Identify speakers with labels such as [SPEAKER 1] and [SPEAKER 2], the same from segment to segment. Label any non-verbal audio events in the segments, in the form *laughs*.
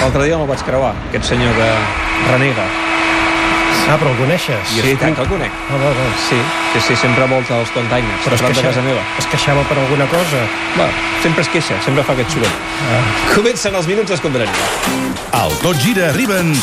[SPEAKER 1] l'altre dia me'l vaig creuar, aquest senyor que renega.
[SPEAKER 2] Ah, però el coneixes.
[SPEAKER 1] I sí, tant que el conec.
[SPEAKER 2] No, no, no.
[SPEAKER 1] Sí, sí, sí sempre volta als containers, però a prop de casa meva.
[SPEAKER 2] es queixava per alguna cosa. Ah.
[SPEAKER 1] Va, sempre es queixa, sempre fa aquest soroll. Comencen els minuts d'escombraria.
[SPEAKER 3] Al Tot Gira arriben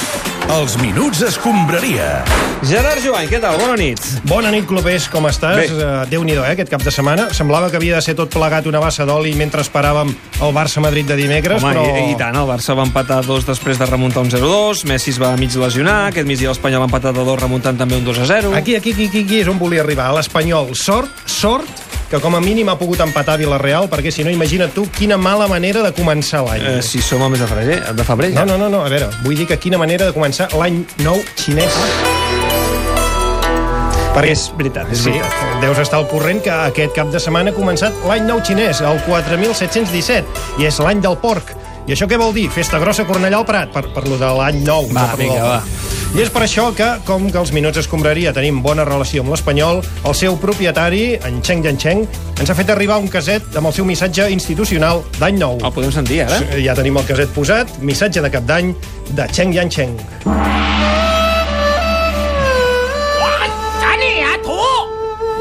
[SPEAKER 3] els Minuts Escombraria.
[SPEAKER 1] Gerard Joan, què tal? Bona nit.
[SPEAKER 2] Bona nit, clubers, com estàs?
[SPEAKER 1] Bé.
[SPEAKER 2] Uh, Déu-n'hi-do, eh, aquest cap de setmana. Semblava que havia de ser tot plegat una bassa d'oli mentre esperàvem el Barça-Madrid de dimecres,
[SPEAKER 1] Home,
[SPEAKER 2] però...
[SPEAKER 1] i, i tant, el Barça va empatar a dos després de remuntar un 0-2, Messi es va mig lesionar, aquest migdia l'Espanyol ha empatat a dos remuntant també un 2-0.
[SPEAKER 2] Aquí, aquí, aquí, aquí, aquí és on volia arribar. A l'Espanyol, sort, sort, que com a mínim ha pogut empatar a Villarreal, perquè si no, imagina't tu quina mala manera de començar l'any.
[SPEAKER 1] Eh, si som a mes de febrer, de febrer ja.
[SPEAKER 2] No, no, no, no, a veure, vull dir que quina manera de començar l'any nou xinès. Perquè és veritat,
[SPEAKER 1] és
[SPEAKER 2] sí,
[SPEAKER 1] veritat.
[SPEAKER 2] deus estar al corrent que aquest cap de setmana ha començat l'any nou xinès, el 4717, i és l'any del porc. I això què vol dir? Festa grossa a Cornellà al Prat, per, per lo de l'any nou.
[SPEAKER 1] Va,
[SPEAKER 2] per lo
[SPEAKER 1] vinga,
[SPEAKER 2] del-
[SPEAKER 1] va.
[SPEAKER 2] I és per això que, com que els Minuts Escombraria tenim bona relació amb l'Espanyol, el seu propietari, en Cheng Yancheng, ens ha fet arribar un caset amb el seu missatge institucional d'any nou.
[SPEAKER 1] El podem sentir ara?
[SPEAKER 2] Sí, Ja tenim el caset posat, missatge de cap d'any de Cheng Yan Cheng.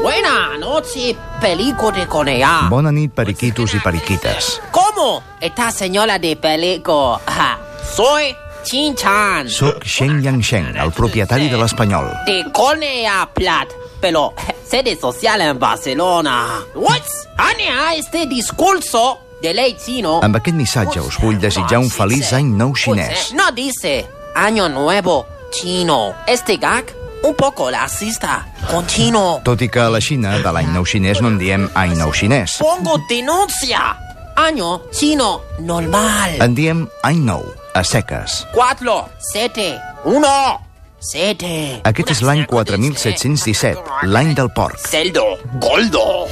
[SPEAKER 4] Buena noche, pelico de Corea.
[SPEAKER 5] Bona nit, periquitos i periquites.
[SPEAKER 4] ¿Cómo está señora de pelico? Ja, Soy Chin Chan
[SPEAKER 5] Soc Sheng Yang Sheng, el propietari de l'Espanyol.
[SPEAKER 4] de Corea Plat, pero je, sede social en Barcelona. What? Ania, este discurso de ley chino. eh,
[SPEAKER 5] Amb aquest missatge us vull desitjar un feliç any nou xinès.
[SPEAKER 4] No dice año nuevo chino. Este gag un poco racista con chino.
[SPEAKER 5] Tot i que a la Xina de l'any nou xinès no en diem any nou xinès.
[SPEAKER 4] Pongo denuncia. Año chino normal.
[SPEAKER 5] En diem any nou, a seques.
[SPEAKER 4] 4, 7, 1, 7.
[SPEAKER 5] Aquest és l'any 4717, l'any del porc.
[SPEAKER 4] Celdo, Goldo.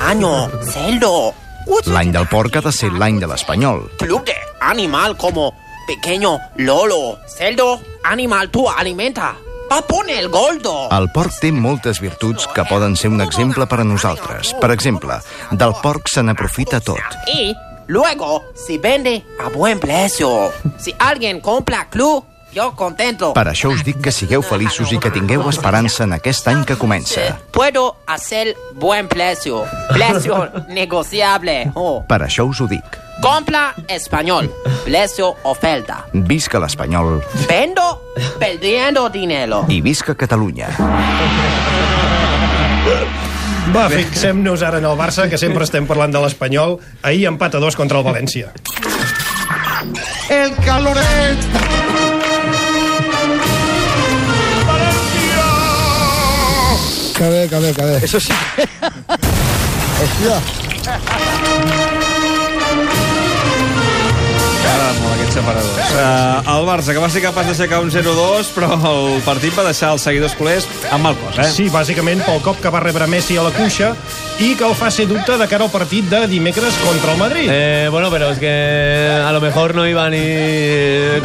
[SPEAKER 4] Año, Celdo.
[SPEAKER 5] L'any del porc ha de ser l'any de l'Espanyol.
[SPEAKER 4] Club de animal como pequeño Lolo. Celdo, animal, tú alimenta. Va poner el Goldo.
[SPEAKER 5] El porc té moltes virtuts que poden ser un exemple per a nosaltres. Per exemple, del porc se n'aprofita tot.
[SPEAKER 4] Y luego se vende a buen precio. Si alguien compra club, yo contento.
[SPEAKER 5] Per això us dic que sigueu feliços i que tingueu esperança en aquest any que comença.
[SPEAKER 4] Puedo hacer buen precio. Precio negociable. Oh.
[SPEAKER 5] Per això us ho dic.
[SPEAKER 4] Compra español. Precio oferta.
[SPEAKER 5] Visca l'Espanyol
[SPEAKER 4] Vendo perdiendo dinero.
[SPEAKER 5] i visca Catalunya.
[SPEAKER 2] Va, fixem-nos ara en el Barça, que sempre estem parlant de l'Espanyol. Ahir empat a dos contra el València.
[SPEAKER 6] El caloret. Que bé, que bé, que bé. Eso sí. Hòstia,
[SPEAKER 1] M'agrada molt aquest separador. Uh, el Barça, que va ser capaç d'aixecar un 0-2, però el partit va deixar els seguidors culers amb mal cos, eh?
[SPEAKER 2] Sí, bàsicament pel cop que va rebre Messi a la cuixa i que el fa ser dubte de cara al partit de dimecres contra el Madrid.
[SPEAKER 7] Eh, bueno, pero es que a lo mejor no iba ni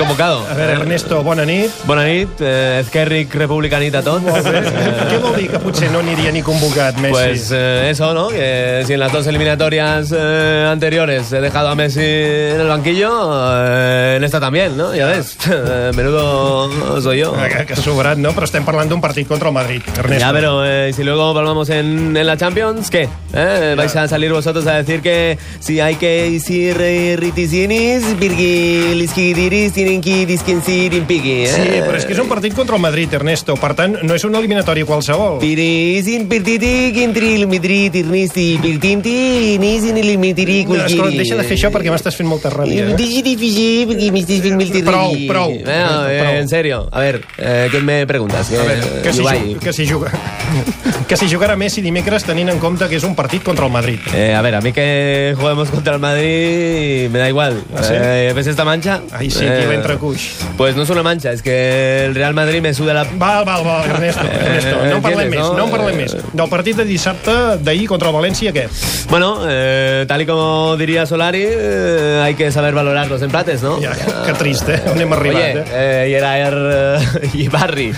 [SPEAKER 7] convocado.
[SPEAKER 2] A veure, Ernesto, bona nit.
[SPEAKER 7] Bona nit, eh, Ezkerrik republicanita tot. Eh,
[SPEAKER 2] Què vol dir que potser no aniria ni convocat, Messi?
[SPEAKER 7] Pues eh, eso, ¿no? Que si en las dos eliminatorias eh, anteriores he dejado a Messi en el banquillo, eh, en esta también, ¿no? Ya ves, *laughs* eh, menudo soy yo.
[SPEAKER 2] Ah, Que, que sobrat, no? Però estem parlant d'un partit contra el Madrid, Ernesto.
[SPEAKER 7] Ya, pero eh, si luego palmamos en, en la Champions, ¿qué? ¿Eh? ¿Vais a salir vosotros a decir que si hay que decir eh, ritisinis, porque los que diris tienen que disquensir en piqui, ¿eh?
[SPEAKER 2] Sí, però és que és un partit contra el Madrid, Ernesto. Per tant, no és una eliminatòria qualsevol.
[SPEAKER 7] Pirisin pirtiti, quintril, mitri, tirnisti, pirtinti, nisin, ilimitiri,
[SPEAKER 2] No, escolta,
[SPEAKER 7] culquiri.
[SPEAKER 2] deixa de fer això perquè m'estàs fent molta ràbia. eh?
[SPEAKER 7] Digi, difigi, perquè m'estàs fent mil tirri.
[SPEAKER 2] Prou, prou.
[SPEAKER 7] Eh, eh,
[SPEAKER 2] Prou.
[SPEAKER 7] en serio, a ver, eh, ¿qué me preguntas? Eh,
[SPEAKER 2] A veure, que si,
[SPEAKER 7] Ibai.
[SPEAKER 2] ju- que, si juga, *laughs* que si jugarà Messi dimecres tenint en compte que és un partit contra el Madrid.
[SPEAKER 7] Eh, a ver, a mí que juguemos contra el Madrid me da igual.
[SPEAKER 2] ¿Ah, sí?
[SPEAKER 7] Eh, ¿Ves esta mancha?
[SPEAKER 2] Ai, sí,
[SPEAKER 7] Eh,
[SPEAKER 2] tio, entra cuix.
[SPEAKER 7] Pues no es una mancha, es que el Real Madrid me suda la... p-
[SPEAKER 2] Val, val, val,
[SPEAKER 7] *laughs*
[SPEAKER 2] Ernesto, Ernesto. No en parlem
[SPEAKER 7] entiendes,
[SPEAKER 2] més,
[SPEAKER 7] Eh, no?
[SPEAKER 2] no en parlem
[SPEAKER 7] Eh,
[SPEAKER 2] més. Del partit de dissabte d'ahir contra el València, què?
[SPEAKER 7] Bueno, eh, tal y como diría Solari, eh, hay que saber valorar los empates, ¿no? Ah,
[SPEAKER 2] Ja, que trist, eh? On hem
[SPEAKER 7] Oye,
[SPEAKER 2] arribat, eh?
[SPEAKER 7] *laughs* eh, y era Er, eh, y Barry.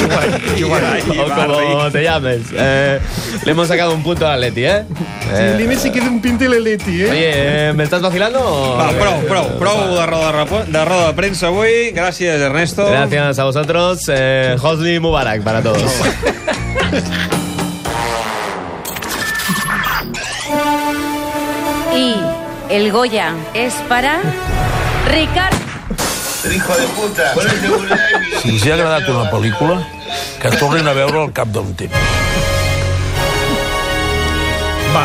[SPEAKER 2] Ibai, Ibai.
[SPEAKER 7] *laughs* O como como te llames. Eh, le hemos sacado un punto al Atleti, ¿eh?
[SPEAKER 2] El
[SPEAKER 7] Eh,
[SPEAKER 2] límit sí que és un pinti l'Eleti, eh?
[SPEAKER 7] Oye, eh, ¿me estás vacilando? o- Eh,
[SPEAKER 1] Va, prou, prou, prou de roda de, repo- de roda de premsa avui. Gràcies, Ernesto.
[SPEAKER 7] Gracias a vosotros. Eh, Hosni Mubarak para todos.
[SPEAKER 1] *laughs*
[SPEAKER 8] Y el Goya es para Ricardo.
[SPEAKER 9] Si els ha agradat una pel·lícula, que tornin a veure al cap d'un temps.
[SPEAKER 2] Va,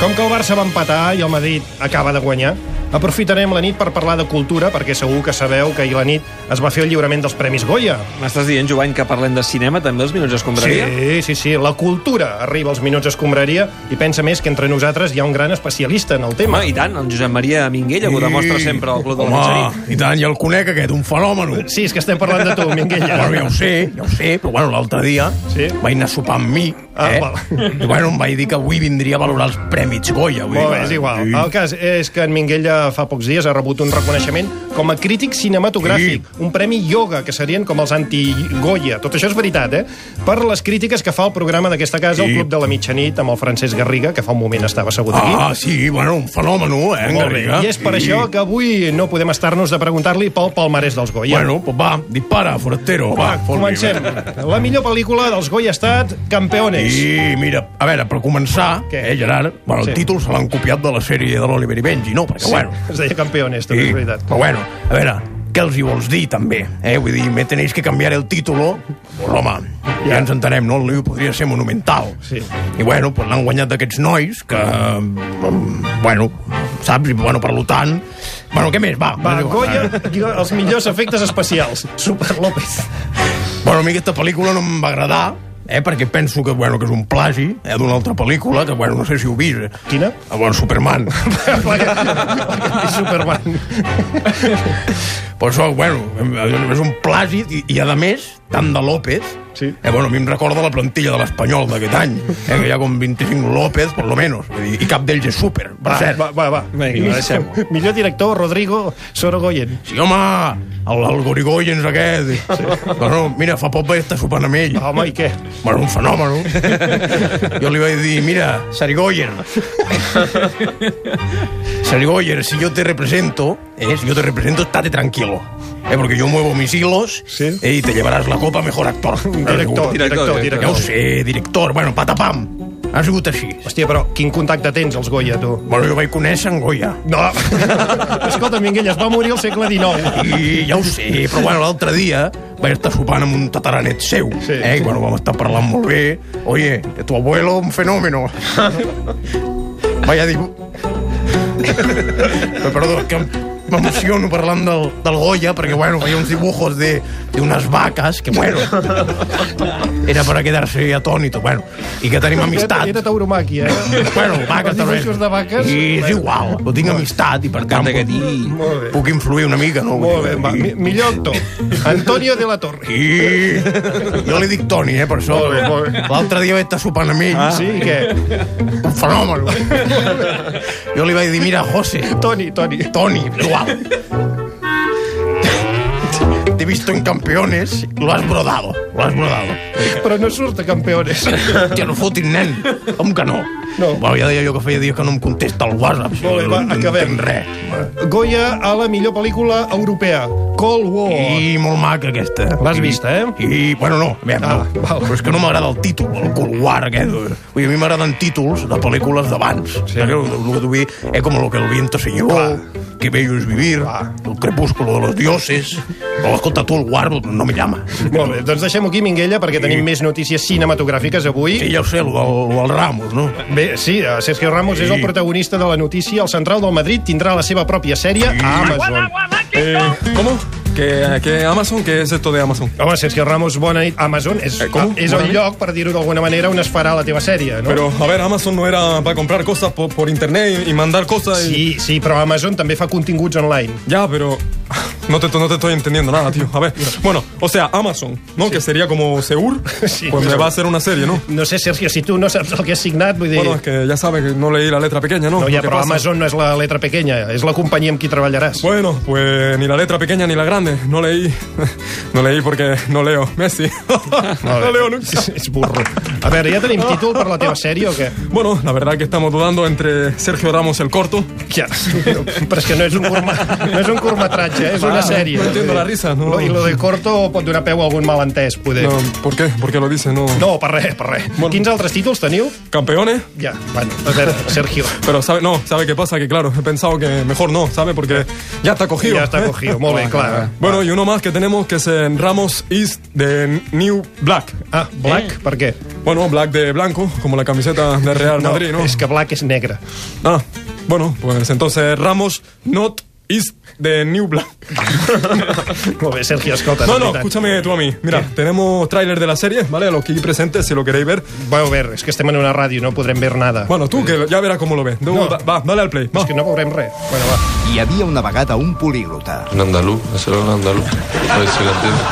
[SPEAKER 2] com que el Barça va empatar i el Madrid acaba de guanyar, aprofitarem la nit per parlar de cultura, perquè segur que sabeu que ahir la nit es va fer el lliurament dels Premis Goya.
[SPEAKER 1] M'estàs dient, Jovany, que parlem de cinema també els minuts d'escombraria?
[SPEAKER 2] Sí, sí, sí, la cultura arriba als minuts escombraria i pensa més que entre nosaltres hi ha un gran especialista en el tema.
[SPEAKER 1] Home, i tant, el Josep Maria Minguella, que ho demostra sempre al Club de la Mitjanit.
[SPEAKER 9] Home, i tant, ja el conec aquest, un fenòmeno.
[SPEAKER 2] Sí, és que estem parlant de tu,
[SPEAKER 9] Bueno, ja
[SPEAKER 2] Minguella.
[SPEAKER 9] ho sé, ja ho sé, però bueno, l'altre dia sí.
[SPEAKER 2] Sí.
[SPEAKER 9] vaig anar a sopar amb mi,
[SPEAKER 2] Ah,
[SPEAKER 9] eh?
[SPEAKER 2] val.
[SPEAKER 9] I bueno, em vaig dir que avui vindria a valorar els Premis Goya. vull dir
[SPEAKER 2] Molt bé,
[SPEAKER 9] que-
[SPEAKER 2] és igual. Ah,
[SPEAKER 9] Sí.
[SPEAKER 2] El cas és que en Minguella fa pocs dies ha rebut un reconeixement com a crític cinematogràfic, un premi ioga, que serien com els anti-Goya. Tot això és veritat, eh? Per les crítiques que fa el programa d'aquesta casa, el
[SPEAKER 9] Sí.
[SPEAKER 2] Club de la Mitjanit, amb el Francesc Garriga, que fa un moment estava assegut aquí.
[SPEAKER 9] Ah, sí, bueno, un fenòmeno, eh, en
[SPEAKER 2] Molt bé.
[SPEAKER 9] Garriga.
[SPEAKER 2] I és per
[SPEAKER 9] Sí.
[SPEAKER 2] això que avui no podem estar-nos de preguntar-li pel palmarès dels Goya.
[SPEAKER 9] Bueno, pues va, dispara, forastero.
[SPEAKER 2] Va,
[SPEAKER 9] Va, fot-li,
[SPEAKER 2] comencem. *laughs* La millor pel·lícula dels Goya ha estat Campeones.
[SPEAKER 9] I mira, a veure, per començar,
[SPEAKER 2] Què?
[SPEAKER 9] eh, Gerard, bueno, el
[SPEAKER 2] Sí.
[SPEAKER 9] títol se l'han copiat de la sèrie de l'Oliver i Benji, no? Perquè,
[SPEAKER 2] Sí,
[SPEAKER 9] bueno,
[SPEAKER 2] es deia Campeones, també és veritat.
[SPEAKER 9] Però bueno, a veure, què els hi vols dir, també? Eh? Vull dir, me tenéis que canviar el títol, oh? pues, home,
[SPEAKER 2] Ja.
[SPEAKER 9] ja ens entenem, no? El lío podria ser monumental.
[SPEAKER 2] Sí.
[SPEAKER 9] I bueno, pues, l'han guanyat d'aquests nois que, mm, bueno, saps? I bueno, per lo tant... Bueno, què més? Va,
[SPEAKER 2] Va,
[SPEAKER 9] és igual.
[SPEAKER 2] Goya, els millors efectes especials. Super López.
[SPEAKER 9] Bueno, a mi aquesta pel·lícula no em va agradar, eh, perquè penso que, bueno, que és un plagi eh, d'una altra pel·lícula, que bueno, no sé si ho vist. eh.
[SPEAKER 2] Quina?
[SPEAKER 9] Ah, Bueno,
[SPEAKER 2] *laughs*
[SPEAKER 9] Superman.
[SPEAKER 2] I Superman.
[SPEAKER 9] per això, oh, bueno, eh, és un plagi i, i a més, tant de López,
[SPEAKER 2] Sí.
[SPEAKER 9] eh, bueno, a mi em recorda la plantilla de l'Espanyol d'aquest any, eh, que hi ha com 25 López, per lo menos, vull dir, i cap d'ells és súper, per
[SPEAKER 2] Va,
[SPEAKER 9] cert.
[SPEAKER 2] va, va. va.
[SPEAKER 1] Vinga, deixem-ho.
[SPEAKER 2] *laughs* Millor director, Rodrigo Sorogoyen.
[SPEAKER 9] Sí, home, el, el Gorigoyens aquest.
[SPEAKER 2] *laughs*
[SPEAKER 9] Sí. Bueno, mira, fa poc vaig estar sopant amb ell.
[SPEAKER 2] Home, i què?
[SPEAKER 9] Bueno, un fenòmen.
[SPEAKER 2] *laughs*
[SPEAKER 9] Jo li vaig dir, mira, Sarigoyen. Sarigoyen, si yo te represento, eh, si yo te represento, estate tranquilo. Eh, porque yo muevo mis hilos
[SPEAKER 2] Sí.
[SPEAKER 9] eh, y te llevarás la copa mejor actor.
[SPEAKER 2] Director, director,
[SPEAKER 1] Director,
[SPEAKER 9] Ja ho
[SPEAKER 2] director.
[SPEAKER 9] sé, director. Bueno, patapam. Ha sigut així.
[SPEAKER 2] Hòstia, però quin contacte tens, els Goya, tu?
[SPEAKER 9] Bueno, jo vaig conèixer en Goya.
[SPEAKER 2] No. *laughs* Escolta, Minguella, es va morir al segle XIX.
[SPEAKER 9] I ja ho sé, però bueno, l'altre dia vaig estar sopant amb un tataranet seu,
[SPEAKER 2] Sí.
[SPEAKER 9] sí. eh? I bueno, vam estar parlant molt bé. Oye, que tu abuelo un fenómeno. Vaya dibu... Però, Perdó, és que m'emociono parlant del, del Goya, perquè, bueno, veia uns dibujos de, de unes vaques, que, bueno, era para quedar-se atònito, bueno, i que tenim
[SPEAKER 2] Era,
[SPEAKER 9] amistat.
[SPEAKER 2] era tauromàquia, eh?
[SPEAKER 9] Bueno, vaques
[SPEAKER 2] Els
[SPEAKER 9] també.
[SPEAKER 2] dibuixos de vaques.
[SPEAKER 9] I és igual, ho tinc amistat i per tant
[SPEAKER 1] Canta que
[SPEAKER 9] puc,
[SPEAKER 1] di.
[SPEAKER 2] Molt bé.
[SPEAKER 9] puc influir una mica, no?
[SPEAKER 2] Molt bé, va. Mi- Millor actor, Antonio de la Torre.
[SPEAKER 9] I... Jo li dic Toni, eh, per això.
[SPEAKER 2] Molt bé, molt bé.
[SPEAKER 9] L'altre dia vaig estar sopant amb ell.
[SPEAKER 2] Ah. Sí, i què?
[SPEAKER 9] Un fenomen. Jo li vaig dir, mira, José,
[SPEAKER 2] Toni, Toni.
[SPEAKER 9] Toni, igual. T'he visto en campeones, lo has brodado, lo has brodado.
[SPEAKER 2] Però no surt a campeones.
[SPEAKER 9] Hòstia, no fotin, nen. Com que no?
[SPEAKER 2] No.
[SPEAKER 9] Bueno, ja deia jo que feia dies que no em contesta el WhatsApp.
[SPEAKER 2] Molt bé, va,
[SPEAKER 9] no
[SPEAKER 2] acabem.
[SPEAKER 9] entenc res.
[SPEAKER 2] Goya a la millor pel·lícula europea. Cold War.
[SPEAKER 9] I molt maca, aquesta.
[SPEAKER 2] L'has
[SPEAKER 9] I-
[SPEAKER 2] vista, eh?
[SPEAKER 9] I, bueno, no, a veure,
[SPEAKER 2] Ah,
[SPEAKER 9] no.
[SPEAKER 2] val.
[SPEAKER 9] Però és que no m'agrada el títol, el colguar aquest. Vull dir, a mi m'agraden títols de pel·lícules d'abans. Sí. És com lo que el viento se llevó, que bello es vivir, el crepúsculo de los dioses... Però, escolta, tu el guardo, no me llama.
[SPEAKER 2] Molt bé, doncs deixem-ho aquí, Minguella, perquè tenim més notícies cinematogràfiques avui.
[SPEAKER 9] Sí, ja ho sé, el, el, el Ramos, no?
[SPEAKER 2] Bé, sí, eh, Sergio Ramos
[SPEAKER 9] Sí.
[SPEAKER 2] és el protagonista de la notícia. El central del Madrid tindrà la seva pròpia sèrie a Amazon.
[SPEAKER 10] ¿Cómo? ¿Qué, qué Amazon? ¿Qué es esto de Amazon? Eh,
[SPEAKER 2] Home, Sergio Ramos, bona nit. Amazon és,
[SPEAKER 10] com?
[SPEAKER 2] Ah, és
[SPEAKER 10] Bona
[SPEAKER 2] el
[SPEAKER 10] nit.
[SPEAKER 2] lloc, per dir-ho d'alguna manera, on es farà la teva sèrie, no?
[SPEAKER 10] Pero, a ver, Amazon no era para comprar cosas por, por internet y, y mandar cosas. y-
[SPEAKER 2] Sí, sí, però Amazon també fa continguts online.
[SPEAKER 10] Ya, pero *laughs* No te, no te estoy entendiendo nada, tío.
[SPEAKER 2] *laughs*
[SPEAKER 10] A ver, bueno, o sea, Amazon, ¿no? Que sería como Seur, *laughs* pues me va a hacer una serie, ¿no?
[SPEAKER 2] No sé, Sergio, si tu no saps el que has signat, vull dir...
[SPEAKER 10] Bueno, es que ya sabes que no leí la letra pequeña, ¿no?
[SPEAKER 2] No, ja,
[SPEAKER 10] Lo que
[SPEAKER 2] però
[SPEAKER 10] pasa-
[SPEAKER 2] Amazon no és la letra pequeña, és la companyia amb qui treballaràs.
[SPEAKER 10] Bueno, pues ni la letra pequeña ni la grande. No leí. *laughs* No leí porque no leo. Messi. *laughs* no
[SPEAKER 2] *laughs*
[SPEAKER 10] leo nunca.
[SPEAKER 2] Es burro. A veure, ja tenim títol per la teva sèrie o què?
[SPEAKER 10] Bueno, la verdad que estamos dudando entre Sergio Ramos el corto.
[SPEAKER 2] Ja, però és que no és un, curma, no és un curtmetratge, eh, és una sèrie.
[SPEAKER 10] Ah, No entiendo la risa. No,
[SPEAKER 2] I lo de corto pot donar peu a algun malentès, poder.
[SPEAKER 10] No, ¿Por qué? ¿Por qué lo dice? No.
[SPEAKER 2] No, per res, per res.
[SPEAKER 10] Bueno.
[SPEAKER 2] Quins altres títols teniu?
[SPEAKER 10] ¿Campeones?
[SPEAKER 2] Ja, bueno, a veure, Sergio.
[SPEAKER 10] *laughs* Pero sabe, no, ¿sabe qué pasa? Que claro, he pensado que mejor no, ¿sabe? Porque ya está cogido.
[SPEAKER 2] Ja està
[SPEAKER 10] ¿eh?
[SPEAKER 2] cogido, molt bé, clar.
[SPEAKER 10] Bueno, y uno más que tenemos que es en Ramos East de New Black.
[SPEAKER 2] Ah, Black, per què?
[SPEAKER 10] Bueno, Black de blanco, como la camiseta de Real
[SPEAKER 2] No,
[SPEAKER 10] Madrid, ¿no?
[SPEAKER 2] és que Black és negre.
[SPEAKER 10] Ah, bueno, pues entonces Ramos Not East de New
[SPEAKER 2] *laughs*
[SPEAKER 10] Black.
[SPEAKER 2] Molt bé, Sergio, escolta,
[SPEAKER 10] No,
[SPEAKER 2] de
[SPEAKER 10] no,
[SPEAKER 2] veritat.
[SPEAKER 10] escúchame tú a mí. Mira, tenemos tráiler de la serie, ¿vale? A los que aquí presentes, si lo queréis ver.
[SPEAKER 2] Vau a veure, és que estem en una ràdio, no podrem ver nada.
[SPEAKER 10] Bueno, tú que ya verás cómo lo ves. No,
[SPEAKER 2] No.
[SPEAKER 10] Va, va, dale al play. Va.
[SPEAKER 2] És que no veurem res. Bueno, va.
[SPEAKER 5] Hi havia una vegada un políglota.
[SPEAKER 11] Un andaluz, ese era un andaluz. A ver si lo entiendes.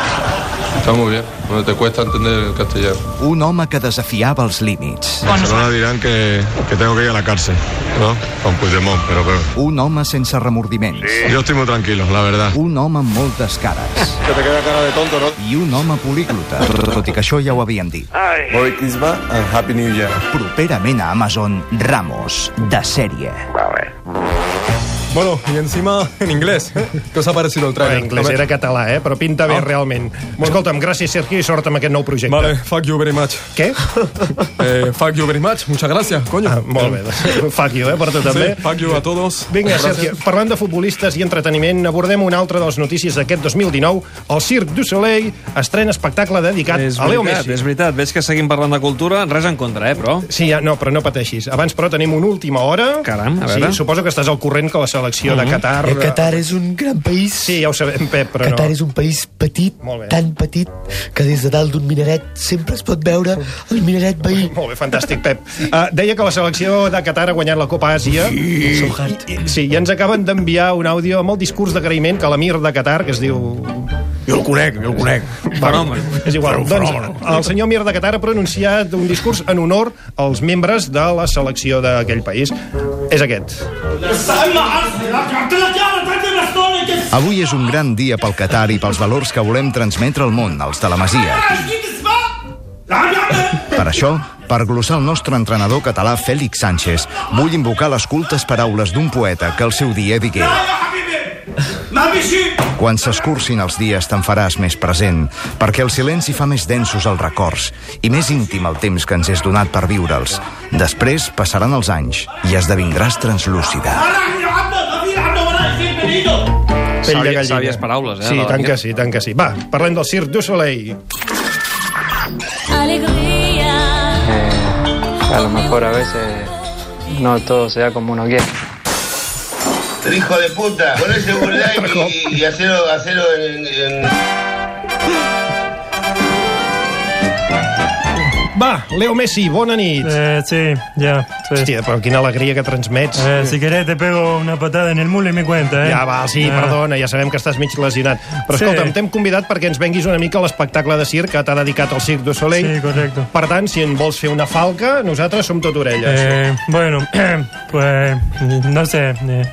[SPEAKER 11] Está muy bien. Bueno, te cuesta entender el castellano.
[SPEAKER 5] Un home que desafiava els límits.
[SPEAKER 12] Barcelona dirán que, que tengo que ir a la cárcel, ¿no? Con Puigdemont, pero peor.
[SPEAKER 5] Un home sense remordiments.
[SPEAKER 12] Yo estoy muy tranquilo, la verdad.
[SPEAKER 5] Un home amb moltes cares.
[SPEAKER 12] *laughs* Que te queda cara de tonto, ¿no?
[SPEAKER 5] I un home políglota, tot i que això ja ho havíem dit.
[SPEAKER 12] Merry Christmas and Happy New Year.
[SPEAKER 5] Properament a Amazon, Ramos, de sèrie.
[SPEAKER 10] Bueno, y encima en inglés. ¿eh? ¿Qué os ha parecido el
[SPEAKER 2] Bueno,
[SPEAKER 10] tráiler?
[SPEAKER 2] Anglès
[SPEAKER 10] A ver.
[SPEAKER 2] era català, eh? però pinta bé,
[SPEAKER 10] Ah.
[SPEAKER 2] realment. Escolta'm, gràcies, Sergio, i sort amb aquest nou projecte.
[SPEAKER 10] Vale, fuck you very much.
[SPEAKER 2] Què?
[SPEAKER 10] *laughs* Eh, fuck you very much, muchas gracias, coño.
[SPEAKER 2] Ah, molt bé, doncs, *laughs* fuck you, eh, per tu també.
[SPEAKER 10] Sí, fuck you a todos.
[SPEAKER 2] Vinga,
[SPEAKER 10] Gracias.
[SPEAKER 2] Sergio, parlant de futbolistes i entreteniment, abordem una altra de les notícies d'aquest 2019. El Cirque du Soleil estrena espectacle dedicat
[SPEAKER 1] És
[SPEAKER 2] a Leo
[SPEAKER 1] veritat,
[SPEAKER 2] Messi.
[SPEAKER 1] és veritat. Veig que seguim parlant de cultura, res en contra, eh, però...
[SPEAKER 2] Sí, ja, no, però no pateixis. Abans, però, tenim una última hora.
[SPEAKER 1] Caram, a veure. Mm-hmm.
[SPEAKER 2] Sí, suposo que estàs al corrent que la selecció de Qatar...
[SPEAKER 13] El Qatar és un gran país.
[SPEAKER 2] Sí, ja ho sabem, Pep, però
[SPEAKER 13] Qatar
[SPEAKER 2] no.
[SPEAKER 13] és un país petit,
[SPEAKER 2] Molt bé.
[SPEAKER 13] tan petit, que des de dalt d'un minaret sempre es pot veure el minaret veí.
[SPEAKER 2] Molt bé, fantàstic,
[SPEAKER 9] *laughs*
[SPEAKER 2] Pep. Uh, deia que la selecció de Qatar ha guanyat la Copa Àsia. Sí. Sí, i ens acaben d'enviar un àudio amb el discurs d'agraïment que l'emir de Qatar, que es diu...
[SPEAKER 9] Jo el conec, jo el conec.
[SPEAKER 1] Fenomen.
[SPEAKER 2] És igual.
[SPEAKER 9] Però,
[SPEAKER 2] Doncs,
[SPEAKER 9] fenomen.
[SPEAKER 2] el senyor emir de Qatar ha pronunciat un discurs en honor als membres de la selecció d'aquell país. És aquest.
[SPEAKER 5] Avui és un gran dia pel Qatar i pels valors que volem transmetre al món, els de la Masia. Per això, per glossar el nostre entrenador català Fèlix Sánchez, vull invocar les cultes paraules d'un poeta que al seu dia digué quan s'escurcin els dies te'n faràs més present, perquè el silenci fa més densos els records i més íntim el temps que ens és donat per viure'ls. Després passaran els anys i esdevindràs translúcida.
[SPEAKER 2] Pell de
[SPEAKER 1] Sàvies-
[SPEAKER 2] gallina.
[SPEAKER 1] sàvies paraules, eh,
[SPEAKER 2] Sí,
[SPEAKER 1] la
[SPEAKER 2] tant
[SPEAKER 1] Dània.
[SPEAKER 2] que sí, tant que sí. Va, parlem del Cirque du Soleil.
[SPEAKER 14] Alegría.
[SPEAKER 15] A lo mejor a veces no todo se da como uno quiere.
[SPEAKER 16] Hijo de puta, poné seguridad y, y hacelo, hacelo en, en...
[SPEAKER 2] Va, Leo Messi, bona nit.
[SPEAKER 17] Eh, sí, ya. Sí.
[SPEAKER 2] Hòstia, però quina alegria que transmets.
[SPEAKER 17] Eh, si querés te pego una patada en el mule y me cuenta, eh.
[SPEAKER 2] Ja va, sí,
[SPEAKER 17] Ah.
[SPEAKER 2] perdona, ja sabem que estàs mig lesionat. Però
[SPEAKER 17] Sí.
[SPEAKER 2] escolta'm, t'hem convidat perquè ens venguis una mica a l'espectacle de circ que t'ha dedicat el Cirque du Soleil.
[SPEAKER 17] Sí, correcte.
[SPEAKER 2] Per tant, si en vols fer una falca, nosaltres som tot orelles.
[SPEAKER 17] Eh, bueno, *clears throat* pues no sé. eh,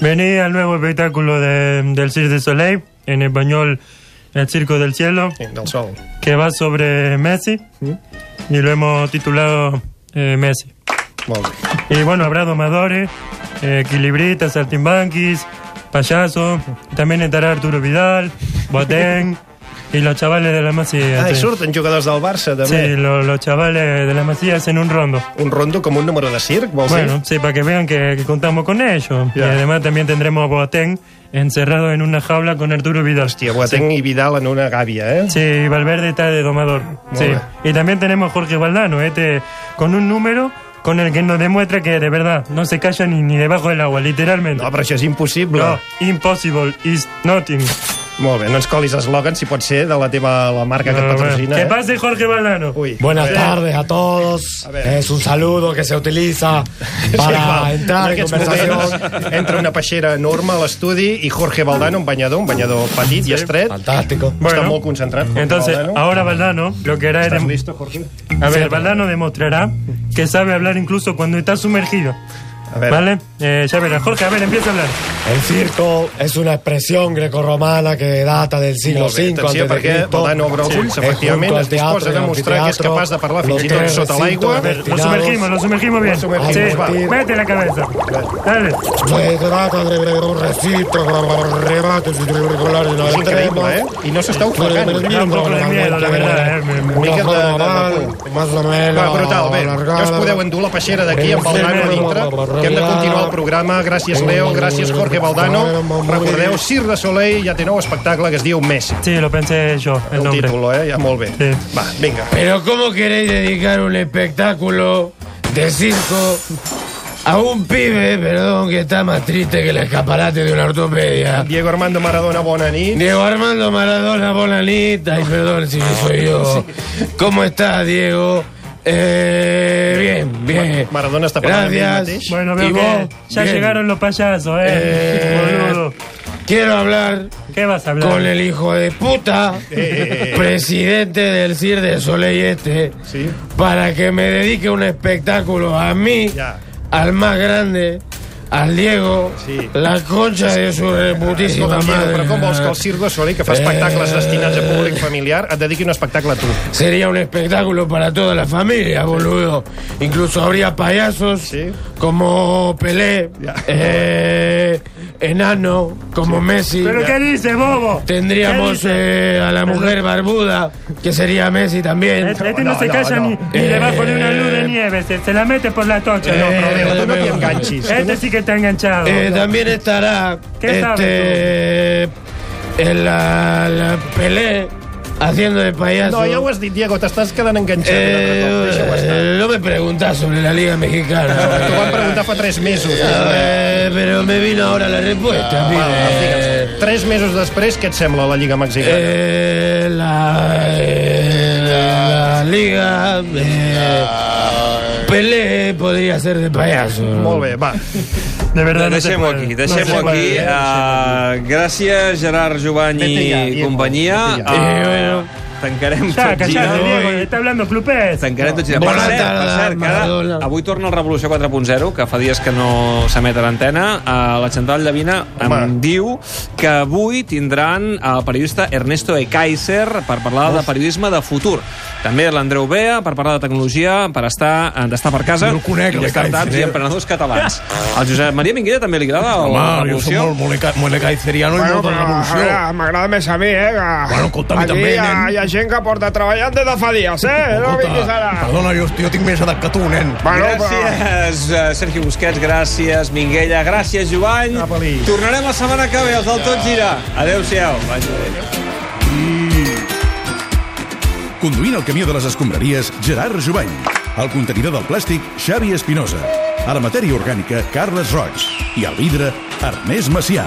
[SPEAKER 17] vení al nuevo espectáculo de- del Cirque du Soleil, en español El Circo del Cielo,
[SPEAKER 2] Del sol.
[SPEAKER 17] que va sobre Messi y lo hemos titulado eh, Messi.
[SPEAKER 2] Molt bé.
[SPEAKER 17] Y bueno, habrá domadores, eh, equilibristas, saltimbanquis, payasos. También estará Arturo Vidal, Boateng y los chavales de la Masía.
[SPEAKER 2] Ah, i
[SPEAKER 17] sí.
[SPEAKER 2] surten jugadors del Barça,
[SPEAKER 17] Sí,
[SPEAKER 2] també.
[SPEAKER 17] lo- los chavales de la Masía hacen un rondo.
[SPEAKER 2] Un rondo com un número de circ, vols
[SPEAKER 17] Bueno,
[SPEAKER 2] dir?
[SPEAKER 17] sí, para que vean que, que contamos con ellos.
[SPEAKER 2] Ya.
[SPEAKER 17] Y además también tendremos a Boateng encerrado en una jaula con Arturo Vidal.
[SPEAKER 2] Hòstia, Boateng i Vidal en una gàbia, eh?
[SPEAKER 17] Sí, y Valverde está de domador.
[SPEAKER 2] Muy
[SPEAKER 17] Sí.
[SPEAKER 2] bien.
[SPEAKER 17] Y también tenemos a Jorge Valdano, este con un número con el que nos demuestra que de verdad no se calla ni, ni debajo del agua, literalmente.
[SPEAKER 2] No, però això és impossible.
[SPEAKER 17] No, impossible is nothing.
[SPEAKER 2] Molt bé, no ens colis eslògans, si pot ser, de la teva la marca que et patrocina.
[SPEAKER 17] Que
[SPEAKER 2] eh?
[SPEAKER 17] pase Jorge Balano. Uy.
[SPEAKER 13] Buenas
[SPEAKER 2] Eh,
[SPEAKER 13] tardes a todos. es un saludo que se utiliza para
[SPEAKER 2] igual.
[SPEAKER 13] entrar en
[SPEAKER 2] aquests
[SPEAKER 13] conversación.
[SPEAKER 2] moments Entra una peixera enorme a l'estudi i Jorge Valdano, un banyador, un banyador petit sí. i estret.
[SPEAKER 13] Fantàstico.
[SPEAKER 2] Està molt concentrat. Jorge
[SPEAKER 17] Entonces,
[SPEAKER 2] Valdano.
[SPEAKER 17] ahora Valdano lo que hará es...
[SPEAKER 2] ¿Estás
[SPEAKER 17] dem-
[SPEAKER 2] listo, Jorge?
[SPEAKER 17] A ver,
[SPEAKER 2] Sí.
[SPEAKER 17] Valdano demostrará que sabe hablar incluso cuando está sumergido.
[SPEAKER 2] ver.
[SPEAKER 17] ¿Vale? Eh, ya verás. Jorge, a ver, empieza a hablar.
[SPEAKER 13] El circo es una expresión grecorromana que data del siglo
[SPEAKER 2] Molt bé,
[SPEAKER 13] V
[SPEAKER 2] atenció,
[SPEAKER 13] antes de
[SPEAKER 2] perquè
[SPEAKER 13] Cristo.
[SPEAKER 2] Valdano obre els ulls,
[SPEAKER 13] Eh,
[SPEAKER 2] efectivament,
[SPEAKER 13] junto al
[SPEAKER 2] es disposa
[SPEAKER 13] teatro
[SPEAKER 2] de
[SPEAKER 13] y al
[SPEAKER 2] mostrar que és
[SPEAKER 13] anfiteatro,
[SPEAKER 2] capaç de parlar
[SPEAKER 13] los
[SPEAKER 2] fins i tot
[SPEAKER 13] tres
[SPEAKER 2] sota
[SPEAKER 13] recintos
[SPEAKER 2] l'aigua.
[SPEAKER 17] A ver, lo
[SPEAKER 13] destinados
[SPEAKER 17] sumergimos, lo sumergimos bien.
[SPEAKER 13] Lo sumergimos,
[SPEAKER 17] Sí,
[SPEAKER 13] va.
[SPEAKER 17] mete la cabeza. Dale.
[SPEAKER 13] Se trata de un recinto con remates irregulares en el
[SPEAKER 2] És increíble, eh?
[SPEAKER 13] extremo.
[SPEAKER 2] I no s'està ofegant.
[SPEAKER 13] Da un poco de miedo, Pues la verdad, eh,
[SPEAKER 17] me- me-
[SPEAKER 2] Una mica de... de, de
[SPEAKER 13] Normal, más o menos.
[SPEAKER 2] Va, brutal, bé. Ja us
[SPEAKER 13] alargada.
[SPEAKER 2] podeu endur la peixera d'aquí amb Valdano a dintre, que hem de continuar el programa. Gràcies, Leo. Gràcies, Jorge Valdano. Recordeu, Cirque de Soleil ja té nou espectacle que es diu Messi.
[SPEAKER 17] Sí, lo pensé yo, el
[SPEAKER 2] El
[SPEAKER 17] nombre.
[SPEAKER 2] títol, eh? Ja molt bé. Va, vinga.
[SPEAKER 14] Pero ¿cómo queréis dedicar un espectáculo de circo a un pibe, perdón, que está más triste que el escaparate de una ortopedia?
[SPEAKER 2] Diego Armando Maradona, bona nit.
[SPEAKER 14] Diego Armando Maradona Bonanita, ay perdón si soy yo. ¿Cómo estás, Diego? Eh, bien, bien.
[SPEAKER 2] Maradona está
[SPEAKER 14] Gracias.
[SPEAKER 17] Bueno, veo
[SPEAKER 14] ¿Y
[SPEAKER 17] que
[SPEAKER 14] vos?
[SPEAKER 17] ya
[SPEAKER 14] Bien.
[SPEAKER 17] llegaron los payasos, eh.
[SPEAKER 14] Eh,
[SPEAKER 17] Boludo.
[SPEAKER 14] Quiero hablar
[SPEAKER 17] ¿Qué vas a hablar?
[SPEAKER 14] con el hijo de puta,
[SPEAKER 17] Eh.
[SPEAKER 14] presidente del CIR de Soleil Este, para que me dedique un espectáculo a mí, al más grande, al Diego, la concha de su reputísima
[SPEAKER 2] Escolta, Diego,
[SPEAKER 14] madre.
[SPEAKER 2] però com vols que el Cirque du Soleil, que fa espectacles
[SPEAKER 14] Eh.
[SPEAKER 2] destinats a públic familiar, et dediqui un espectacle a tu?
[SPEAKER 14] Sería un espectáculo para toda la familia, boludo. Incluso habría payasos como Pelé, eh, enano como Messi.
[SPEAKER 17] ¿Pero qué dices, bobo? ¿Qué
[SPEAKER 14] Tendríamos
[SPEAKER 17] dices?
[SPEAKER 14] eh, a la mujer barbuda, que sería Messi también.
[SPEAKER 17] Este, este no, se calla ni, ni debajo de una luz de nieve, se, se la mete por la tocha. no,
[SPEAKER 14] eh,
[SPEAKER 17] problema.
[SPEAKER 14] tú no te enganches, tú
[SPEAKER 17] Este
[SPEAKER 14] no-
[SPEAKER 17] sí que está
[SPEAKER 2] Ah,
[SPEAKER 17] enganchado.
[SPEAKER 14] Eh, también estará
[SPEAKER 17] ¿Qué
[SPEAKER 14] este, el, la, la Pelé haciendo de payaso.
[SPEAKER 2] No, ja ho has dit, Diego, t'estàs quedant enganxat. un altre cop. Deixa-ho estar.
[SPEAKER 14] Eh, no me preguntás sobre la Liga Mexicana.
[SPEAKER 2] T'ho van preguntar fa tres mesos.
[SPEAKER 14] Eh, pero me vino ahora la respuesta.
[SPEAKER 2] Ah,
[SPEAKER 14] mire.
[SPEAKER 2] va,
[SPEAKER 9] eh,
[SPEAKER 2] digue'ns. Tres mesos després, què et sembla la Lliga Mexicana?
[SPEAKER 14] Eh, la, eh, la- la Liga eh, Pelé podría ser de payaso.
[SPEAKER 2] Molt bé, va.
[SPEAKER 17] De
[SPEAKER 14] verdad,
[SPEAKER 1] Deixem-ho aquí, deixem-ho aquí. Uh, gràcies, Gerard Jovany
[SPEAKER 17] Vete ya,
[SPEAKER 1] i
[SPEAKER 17] Diego,
[SPEAKER 1] companyia.
[SPEAKER 17] vete ya.
[SPEAKER 1] Eh, bueno, Tancarem
[SPEAKER 17] Ya,
[SPEAKER 1] tot gira.
[SPEAKER 17] callate, Diego, está hablando Clupés.
[SPEAKER 1] Tancarem tot gira. Per cert, per cert, que ara, avui torna el Revolució 4.0, que fa dies que no s'emet a l'antena. Uh, la Chantal Llavina em diu que avui tindran el periodista Ernesto E. Kaiser per parlar de periodisme de futur. També l'Andreu Bea per parlar de tecnologia, per estar eh, d'estar per casa
[SPEAKER 9] Jo el conec,
[SPEAKER 1] i
[SPEAKER 9] el
[SPEAKER 1] de startups
[SPEAKER 9] Kaiser. eh?
[SPEAKER 1] i emprenedors catalans. Al Josep Maria Minguella també li agrada
[SPEAKER 9] Home,
[SPEAKER 1] la
[SPEAKER 9] jo soc
[SPEAKER 1] revolució.
[SPEAKER 9] molt moleca- molecaiceriano i molt de revolució.
[SPEAKER 18] Ah, M'agrada més a mi, eh? Que...
[SPEAKER 9] Bueno, escolta, a mi
[SPEAKER 18] Aquí
[SPEAKER 9] també,
[SPEAKER 18] hi ha,
[SPEAKER 9] nen.
[SPEAKER 18] hi ha gent que porta treballant des de fa dies, eh? No
[SPEAKER 9] Escolta,
[SPEAKER 18] vinguis ara.
[SPEAKER 9] Perdona, jo, jo tinc més edat que tu, nen.
[SPEAKER 1] Gràcies, eh, Sergi Busquets, gràcies, Minguella, gràcies, Jovany. Tornarem la setmana que ve, els del Tot Gira. Adéu-siau. Vagi bé.
[SPEAKER 3] Conduint el camió de les escombraries, Gerard Jubany. El contenidor del plàstic, Xavi Espinosa. A la matèria orgànica, Carles Roig. I al vidre, Ernest Macià.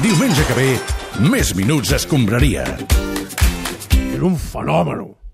[SPEAKER 3] Diumenge que ve, més minuts escombraria.
[SPEAKER 9] Era un fenòmeno.